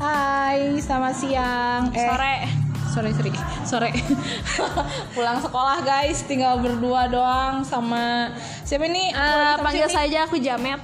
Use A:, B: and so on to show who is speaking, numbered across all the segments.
A: Hai, selamat siang. Eh,
B: Sore. Eh,
A: Sore, sore, sore. Pulang sekolah guys, tinggal berdua doang sama siapa ini?
B: Eh,
A: Ah,
B: panggil
A: siapa sih?
B: saja aku Jamet.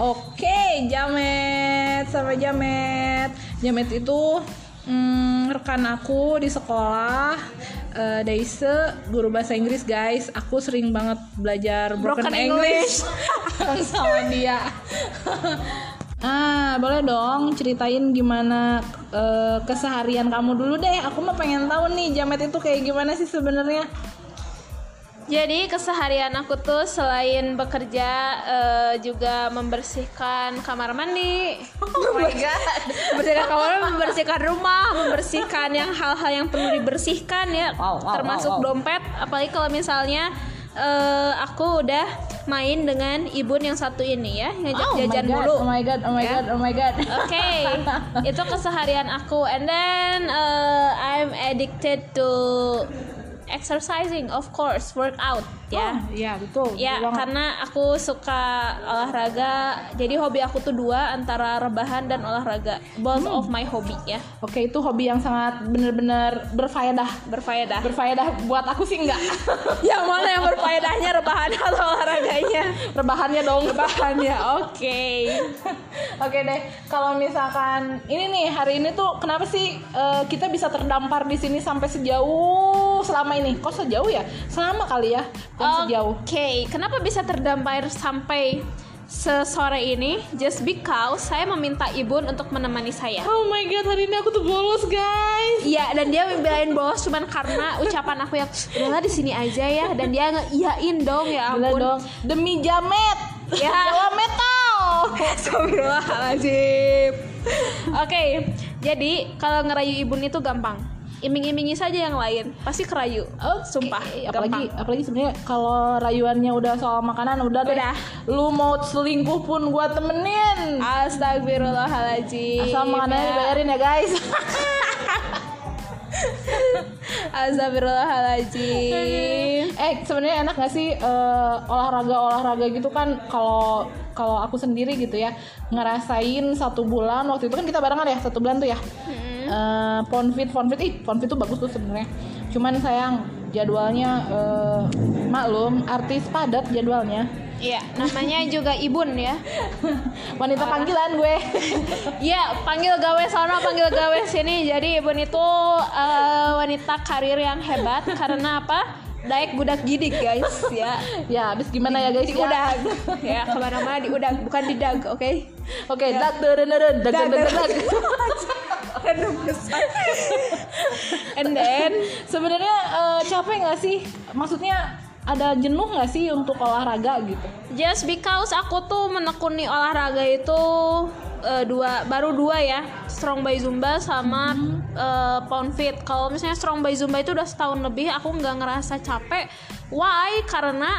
A: Oke, Jamet sama Jamet. Jamet itu mm, rekan aku di sekolah. Eh, Daise guru bahasa Inggris guys. Aku sering banget belajar broken,
B: Broken
A: English,
B: English.
A: sama dia. ah, boleh dong ceritain gimana eh, keseharian kamu dulu deh. Aku mah pengen tahu nih Jamet itu kayak gimana sih sebenarnya.
B: Jadi keseharian aku tuh selain bekerja eh, juga membersihkan kamar mandi. Oh my god. Membersihkan kamar mandi, membersihkan rumah, membersihkan yang hal-hal yang perlu dibersihkan ya,
A: Wow, wow,
B: termasuk
A: wow, wow.
B: dompet. Apalagi kalau misalnya eh, aku udah main dengan ibun yang satu ini ya, ngajak
A: Oh my
B: jajan
A: God,
B: mulu.
A: Oh my god, oh my god, oh my god.
B: Oke, itu keseharian aku. And then uh, I'm addicted to exercising, of course, workout ya.
A: Oh, iya, betul. betul
B: Ya,
A: banget.
B: karena aku suka olahraga. Jadi hobi aku tuh dua antara rebahan dan olahraga. Both of my hobby ya.
A: Oke, itu hobi yang sangat bener-bener berfaedah.
B: Berfaedah.
A: Berfaedah buat aku sih enggak.
B: yang Ya, mana yang berfaedahnya rebahan atau olahraganya?
A: Rebahannya dong. ya,
B: Rebahannya. Oke.
A: Oke deh, kalau misalkan ini nih hari ini tuh kenapa sih eh, kita bisa terdampar di sini sampai sejauh selama ini? Kok sejauh ya? Selama kali ya, bukan
B: Kan
A: sejauh.
B: Oke, kenapa bisa terdampar sampai sesore ini? Just because saya meminta Ibun untuk menemani saya.
A: Oh my god, hari ini aku tuh bolos guys.
B: Iya, dan dia belain bolos cuman karena ucapan aku yang udahlah di sini aja ya dan dia ngeiyain dong ya
A: Gila
B: ampun.
A: dong, demi jamet.
B: Ya.
A: Jawa metal.
B: Astagfirullahaladzim. Oke, jadi kalau ngerayu Ibun itu gampang. Iming-imingi saja yang lain, pasti kerayu. Sumpah,
A: Eh, apalagi
B: gampang.
A: apalagi sebenarnya kalau rayuannya udah soal makanan udah deh.
B: Udah.
A: Lu mau selingkuh pun gua temenin.
B: Astagfirullahaladzim.
A: Asal makanannya
B: Ya.
A: dibayarin ya guys.
B: Astagfirullahaladzim.
A: eh sebenarnya enak gak sih eh, olahraga-olahraga gitu kan kalau kalau aku sendiri gitu ya ngerasain satu bulan waktu itu kan kita barengan ya satu bulan tuh ya Eh, ponfit ponfit ih ponfit tuh bagus tuh sebenarnya cuman sayang jadwalnya eh, maklum artis padat jadwalnya
B: Iya, namanya juga Ibun ya.
A: wanita panggilan gue
B: Iya, panggil gawe sana, panggil gawe sini. Jadi Ibun itu eh, wanita karir yang hebat karena apa? Daek budak gidik guys ya.
A: ya abis gimana ya guys ya?
B: Diudag. Ya, kemana-mana diudag, bukan didag, oke?
A: oke dak deren deren dak
B: Dak,
A: deren,
B: deren.
A: dak.
B: Random pesan. And then
A: sebenarnya eh, capek nggak sih maksudnya ada jenuh nggak sih untuk olahraga gitu
B: Just because aku tuh menekuni olahraga itu eh, dua baru dua ya strong by zumba sama
A: Mm-hmm.
B: eh, pound fit. Kalau misalnya strong by zumba itu udah setahun lebih aku nggak ngerasa capek. Why? Karena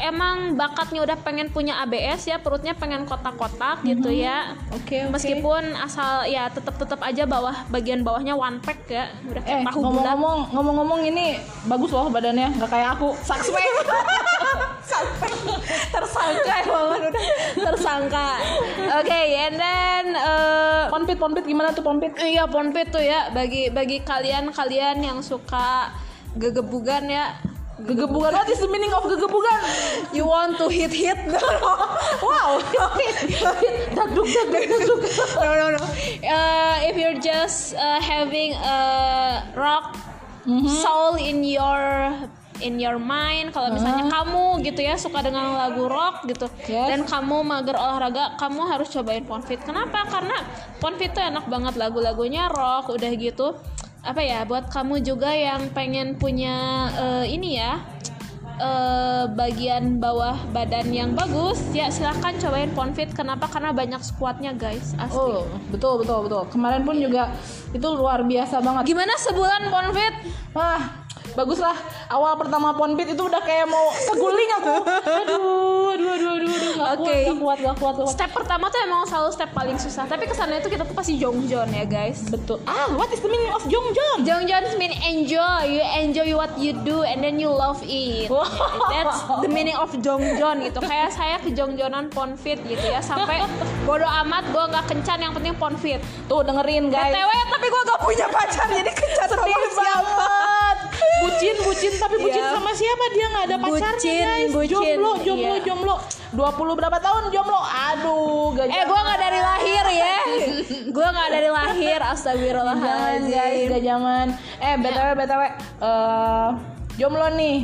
B: emang bakatnya udah pengen punya ABS ya perutnya pengen kotak-kotak gitu ya.
A: Mm-hmm. Oke, oke.
B: Meskipun asal ya tetap-tetap aja bawah bagian bawahnya one pack ya udah kayak
A: Eh,
B: tahu bulat.
A: ngomong-ngomong, ngomong-ngomong ini bagus loh badannya, nggak kayak aku. Sakswe.
B: tersangka emang udah tersangka oke and then eh,
A: Pompit, pompit gimana tuh pompit?
B: iya ponpet tuh ya bagi bagi kalian kalian yang suka gegebugan ya
A: Gegebugan. What is the meaning of gegebugan?
B: you want to hit hit no no
A: Wow. Daduk, daduk, daduk.
B: no no, no. Eh, if you're just eh, having a rock
A: Mm-hmm.
B: soul in your in your
A: Uh-huh.
B: mind kalau misalnya kamu gitu ya suka dengan lagu rock gitu
A: Yes.
B: dan kamu mager olahraga kamu harus cobain Ponfit kenapa karena Ponfit tuh enak banget lagu-lagunya rock udah gitu apa ya buat kamu juga yang pengen punya eh, ini ya eh, bagian bawah badan yang bagus ya silahkan cobain Ponfit kenapa karena banyak squatnya guys asli
A: Oh, betul, betul, betul. Kemarin pun juga itu luar biasa banget.
B: gimana sebulan Ponfit
A: Wah, baguslah. Awal pertama pompit itu udah kayak mau keguling aku. Aduh, aduh, aduh, aduh, aduh. nggak
B: Oke,
A: kuat, gak kuat,
B: Oke.
A: gak kuat, gak kuat.
B: Step pertama tuh emang selalu step paling susah. Tapi kesannya tuh kita tuh pasti jongjon ya guys.
A: Betul. Ah, what is the meaning of Jongjon?
B: Jongjon mean enjoy. You enjoy what you do and then you love it.
A: Wow.
B: That's the meaning of jongjon gitu. Kayak saya ke jongjonan ponfit gitu ya sampai bodo amat gue nggak kencan yang penting ponfit.
A: Tuh dengerin guys.
B: BTW tapi gue gak punya pacar jadi kencan sama siapa?
A: banget. Bucin, bucin, tapi bucin
B: Iya.
A: sama siapa? Dia nggak ada pacarnya
B: Bucin,
A: guys.
B: bucin,
A: Jomblo, jomblo,
B: iya.
A: jomblo. 20 berapa tahun jomblo? Aduh, Iya. gak
B: Eh gue gak dari lahir ya Gue gak dari lahir
A: Jangan Ah, guys,
B: Astagfirullahaladzim
A: gak zaman. Eh, btw, btw, eh, jomblo nih,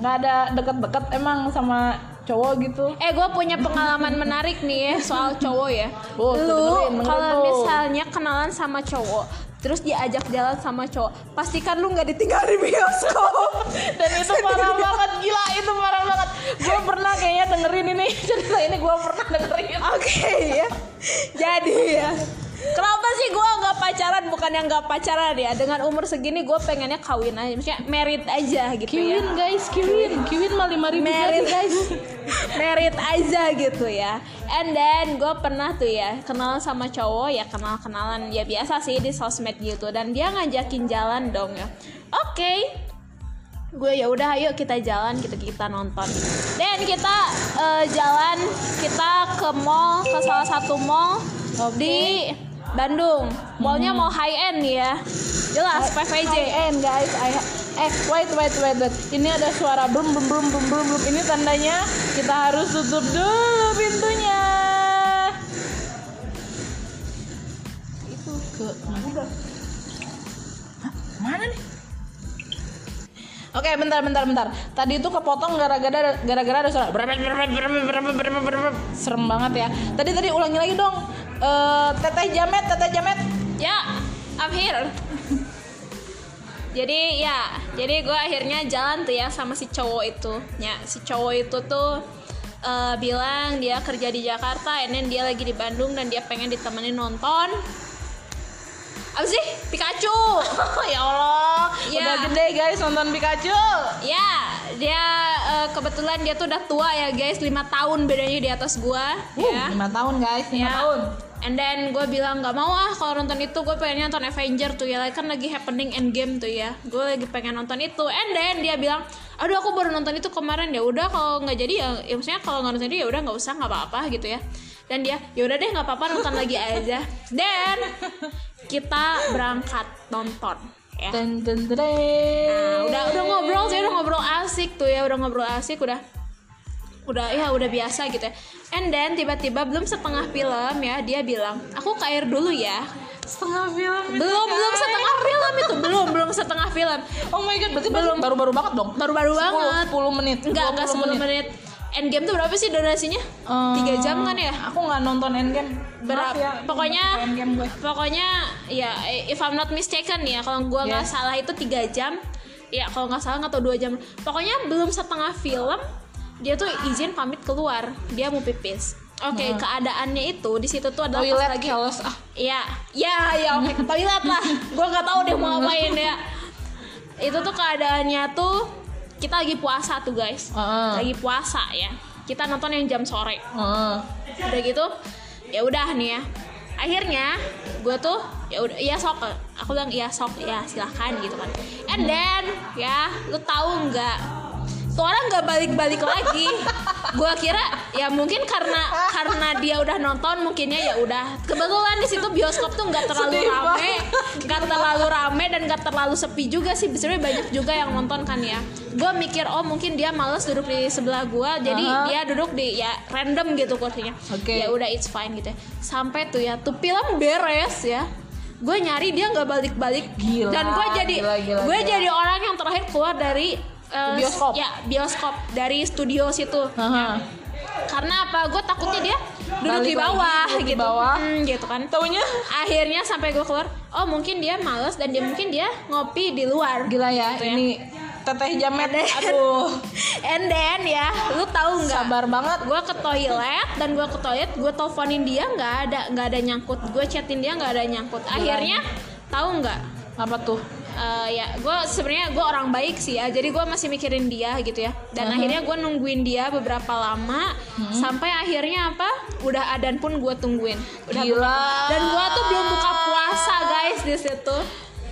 A: nggak ada deket-deket emang sama cowok gitu.
B: Eh gue punya pengalaman menarik nih ya Soal cowok ya
A: Oh, tuh dengerin,
B: Lu
A: dengerin
B: kalau
A: tuh.
B: misalnya kenalan sama cowok Terus diajak jalan sama cowok Pastikan lu gak ditinggal di bioskop
A: Dan itu parah banget, gila itu parah banget. Gue pernah kayaknya dengerin ini cerita ini gue pernah dengerin.
B: Oke ya Jadi ya Kenapa sih gue nggak pacaran bukan yang nggak pacaran ya dengan umur segini gue pengennya kawin aja maksudnya merit aja gitu ya
A: Kiwin guys, kiwin, kiwin mah lima ribu
B: Merit.
A: guys.
B: merit aja gitu ya and then gue pernah tuh ya kenalan sama cowok ya kenal kenalan ya biasa sih di sosmed gitu dan dia ngajakin jalan dong ya oke gue ya udah ayo kita jalan kita kita nonton dan kita eh, jalan kita ke mall ke salah satu mall
A: Oke. Hmm.
B: di Bandung mallnya mall high end ya jelas PVJ
A: IN guys, I- eh wait wait wait wait. Ini ada suara belum belum belum belum belum belum. Ini tandanya kita harus tutup dulu pintunya. Itu ke mana? Hah, Mana nih? Oke, bentar, bentar, bentar. Tadi itu kepotong gara-gara gara-gara ada suara berapa berapa berapa berapa berapa berapa. Serem banget ya. Tadi tadi ulangi lagi dong. Eh, teteh jamet, teteh jamet.
B: Ya, I'm here. jadi ya, jadi gue akhirnya jalan tuh ya sama si cowok itu. Ya, si cowok itu tuh eh, bilang dia kerja di Jakarta, and then dia lagi di Bandung dan dia pengen ditemenin nonton. Apa sih? Pikachu.
A: ya Allah,
B: Ya.
A: udah gede guys nonton Pikachu.
B: ya, dia eh, kebetulan dia tuh udah tua ya guys, 5 tahun bedanya di atas gua. ya.
A: lima tahun guys, lima
B: Ya.
A: tahun.
B: And then gue bilang nggak mau ah kalau nonton itu gue pengen nonton Avenger tuh ya kan lagi happening Endgame tuh ya gue lagi pengen nonton itu and then dia bilang aduh aku baru nonton itu kemarin ya udah kalau nggak jadi ya, ya maksudnya kalau nggak nonton jadi ya udah nggak usah nggak apa-apa gitu ya dan dia ya udah deh nggak apa-apa nonton lagi aja dan kita berangkat nonton ya
A: Dan dan
B: Nah, udah
A: Oh.
B: udah ngobrol sih udah ngobrol asik tuh ya udah ngobrol asik udah udah ya udah biasa gitu ya and then tiba-tiba belum setengah film ya dia bilang aku ke air dulu ya
A: setengah film. itu,
B: belum
A: guys.
B: belum setengah film itu belum belum setengah film
A: Oh my god, berarti belum baru-baru banget dong.
B: baru-baru banget
A: 10 menit.
B: enggak enggak
A: 20
B: 10 menit. Endgame tuh berapa sih durasinya
A: Eh,
B: tiga jam kan ya
A: Aku nggak nonton Endgame.
B: berapa
A: Maaf ya,
B: pokoknya
A: nonton Endgame gue.
B: pokoknya ya if I'm not mistaken ya kalau gua nggak
A: Yes.
B: salah itu tiga jam ya kalau nggak salah atau dua jam pokoknya belum setengah film dia tuh izin pamit keluar dia mau pipis oke
A: Nah.
B: keadaannya itu di situ tuh adalah pas
A: Toilet
B: lagi
A: keles ah.
B: ya ya ya oke ke toilet lah gua nggak tahu deh mau ngapain ya itu tuh keadaannya tuh kita lagi puasa tuh guys
A: Heeh.
B: lagi puasa ya kita nonton yang jam sore
A: Heeh.
B: udah gitu ya udah nih ya akhirnya gue tuh ya udah iya sok aku bilang iya sok ya silahkan gitu kan and then ya lu tahu nggak tuh orang nggak balik-balik lagi gue kira ya mungkin karena karena dia udah nonton mungkinnya ya udah kebetulan di situ bioskop tuh nggak terlalu
A: Sedih
B: rame nggak terlalu rame dan nggak terlalu sepi juga sih sebenarnya banyak juga yang nonton kan ya gue mikir oh mungkin dia males duduk di sebelah gue jadi
A: Aha.
B: dia duduk di ya random gitu kursinya
A: Oke.
B: ya udah it's fine gitu ya. sampai tuh ya tuh film beres ya gue nyari dia nggak balik-balik
A: Gila,
B: dan gue jadi
A: gila, gila,
B: gue
A: gila.
B: jadi orang yang terakhir keluar dari eh,
A: Bioskop.
B: ya bioskop dari studio situ
A: Aha.
B: karena apa gue takutnya dia duduk
A: Balik
B: di
A: lagi,
B: bawah
A: duduk di
B: gitu
A: bawah.
B: Hmm, gitu kan
A: Taunya
B: akhirnya sampai gue keluar oh mungkin dia males dan dia mungkin dia ngopi di luar
A: gila ya,
B: Gitu ya.
A: ini teteh jamet
B: Ada.
A: aduh
B: and then ya lu tahu nggak
A: sabar banget
B: gue ke toilet dan gue ke toilet gue teleponin dia nggak ada nggak ada nyangkut gue chatin dia nggak ada nyangkut akhirnya tahu nggak
A: apa tuh
B: eh, ya gue sebenarnya gue orang baik sih ya jadi gue masih mikirin dia gitu ya dan akhirnya gue nungguin dia beberapa lama sampai akhirnya apa udah adan pun gue tungguin udah
A: Gila.
B: buka- dan gue tuh belum buka puasa guys di situ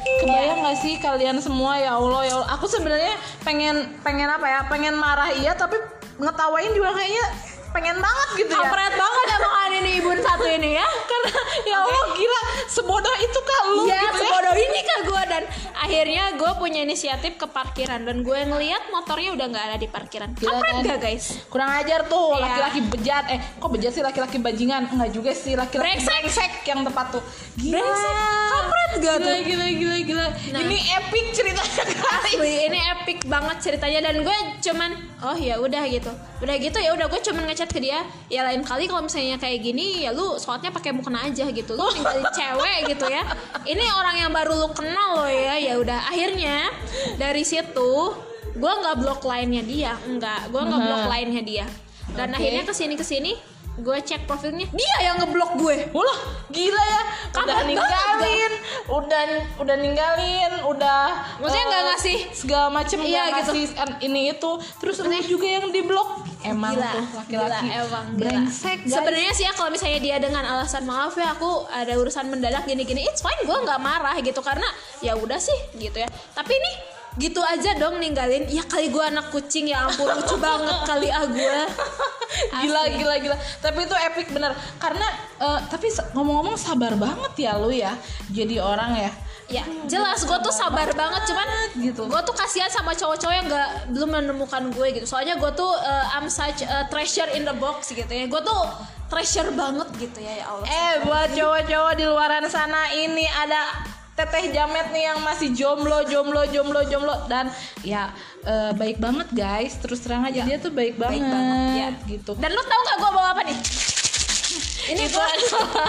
A: Kebayang nggak sih kalian semua ya Allah ya Allah. Aku sebenarnya pengen pengen apa ya? Pengen marah iya tapi ngetawain juga kayaknya pengen banget gitu ya.
B: kampret banget emang Anin ibun satu ini ya
A: Karena ya Allah gila sebodoh itu kak lu gitu
B: Iya,
A: ya.
B: sebodoh ini kak gue dan akhirnya gue punya inisiatif ke parkiran dan gue ngeliat motornya udah nggak ada di parkiran.
A: Gila,
B: Kampret
A: kan?
B: gak guys?
A: Kurang ajar tuh
B: Iya.
A: laki-laki bejat. Eh, kok bejat sih laki-laki bajingan? Enggak juga sih laki-laki
B: Brengsek.
A: brengsek yang tepat tuh. Gila.
B: Brengsek. Kampret gak
A: Gila,
B: tuh?
A: gila, gila, gila.
B: Nah.
A: Ini epic ceritanya kali.
B: Wih, ini epic banget ceritanya dan gue cuman oh ya udah gitu udah gitu ya udah gue cuman ngechat ke dia ya lain kali kalau misalnya kayak gini ya lu sholatnya pakai mukena aja gitu lu tinggalin cewek gitu ya ini orang yang baru lu kenal lo ya ya udah akhirnya dari situ gue nggak blok lainnya dia enggak gue nggak blok
A: Mhm.
B: lainnya dia dan
A: Oke.
B: akhirnya kesini kesini gue cek profilnya dia yang ngeblok gue
A: Wah, gila ya. Udah
B: Kampret banget,
A: ninggalin, udah udah ninggalin, udah
B: Maksudnya
A: eh,
B: nggak ngasih?
A: segala macem
B: Iya,
A: nggak
B: gitu.
A: ngasih eh, ini itu. Terus lu juga yang di blok. Emang
B: gila,
A: tuh laki-laki
B: gila, emang gila.
A: brengsek. guys.
B: Sebenarnya sih ya kalau misalnya dia dengan alasan maaf ya aku ada urusan mendadak gini-gini, it's fine gue nggak marah gitu karena ya udah sih gitu ya. Tapi ini gitu aja dong ninggalin ya kali gue anak kucing ya ampun lucu banget kali ah gue
A: gila gila gila tapi itu epic bener karena eh, tapi se- ngomong-ngomong sabar banget ya lu ya jadi orang ya
B: ya jelas gue tuh sabar banget cuman
A: Gitu.
B: gue tuh kasihan sama cowok-cowok yang nggak belum menemukan gue gitu soalnya gue tuh eh, I'm such a treasure in the box gitu ya gue tuh treasure banget gitu ya ya Allah
A: eh buat cowok-cowok di luaran sana ini ada teteh jamet nih yang masih jomblo jomblo jomblo jomblo dan ya eh, baik banget guys terus terang aja dia tuh baik banget,
B: banget, ya.
A: gitu
B: Dan lu tau gak gue bawa apa nih? Ini
A: Itu
B: gue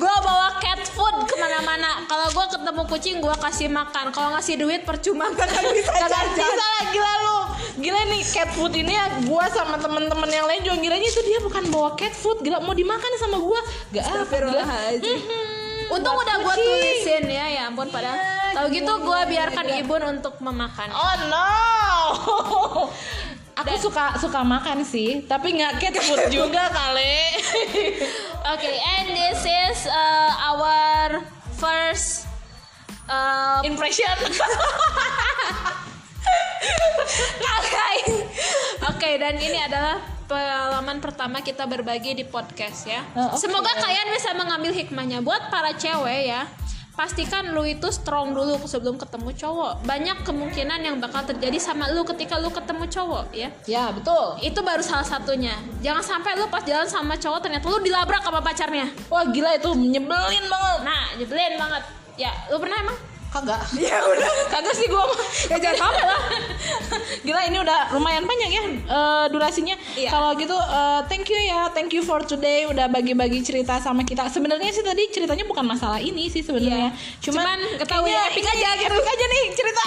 B: Gue bawa cat food kemana-mana Kalau gue ketemu kucing gue kasih makan Kalau ngasih duit percuma gak akan bisa
A: Gak ada
B: jajan
A: sisa lah, gila lu Gila nih cat food ini ya Gue sama temen-temen yang lain juga Gilanya itu dia bukan bawa cat food Gila mau dimakan sama gue Gak apa gila
B: Astagfirullahaladzim.
A: Mhm,
B: Untung
A: buat
B: udah gue
A: kucing. Iya,
B: tulisin ya Ya ampun padahal Tau gitu gue biarkan ibun untuk memakan
A: Oh no. Aku suka suka makan sih, tapi nggak cat food juga kali.
B: Oke and this is uh, our first uh,
A: Impression.
B: Oke, Oke, dan ini adalah pengalaman pertama kita berbagi di podcast ya.
A: Oh, oke.
B: Semoga kalian bisa mengambil hikmahnya buat para cewek ya. Pastikan lu itu strong dulu sebelum ketemu cowok. Banyak kemungkinan yang bakal terjadi sama lu ketika lu ketemu cowok ya.
A: ya betul.
B: Itu baru salah satunya. Jangan sampai lu pas jalan sama cowok ternyata lu dilabrak sama pacarnya.
A: Wah gila itu nyebelin banget.
B: Nah, nyebelin banget. Ya, lu pernah emang?
A: Kagak. Ya udah. Kagak sih gua. mah.
B: Ya jangan sampai lah.
A: Gila ini udah lumayan panjang ya eh, durasinya.
B: Iya.
A: Kalau gitu eh, thank you ya, thank you for today udah bagi-bagi cerita sama kita. Sebenarnya sih tadi ceritanya bukan masalah ini sih sebenarnya.
B: Iya.
A: Cuman,
B: Cuman ketahui
A: kayaknya
B: epic
A: ini
B: aja gitu.
A: Epic aja nih cerita.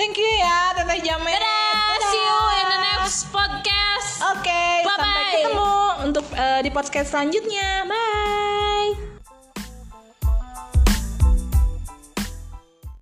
A: thank you ya Teteh Jamet.
B: Dadah, see you in the next podcast.
A: Oke, sampai
B: Bye-bye.
A: ketemu untuk eh, di podcast selanjutnya. Bye.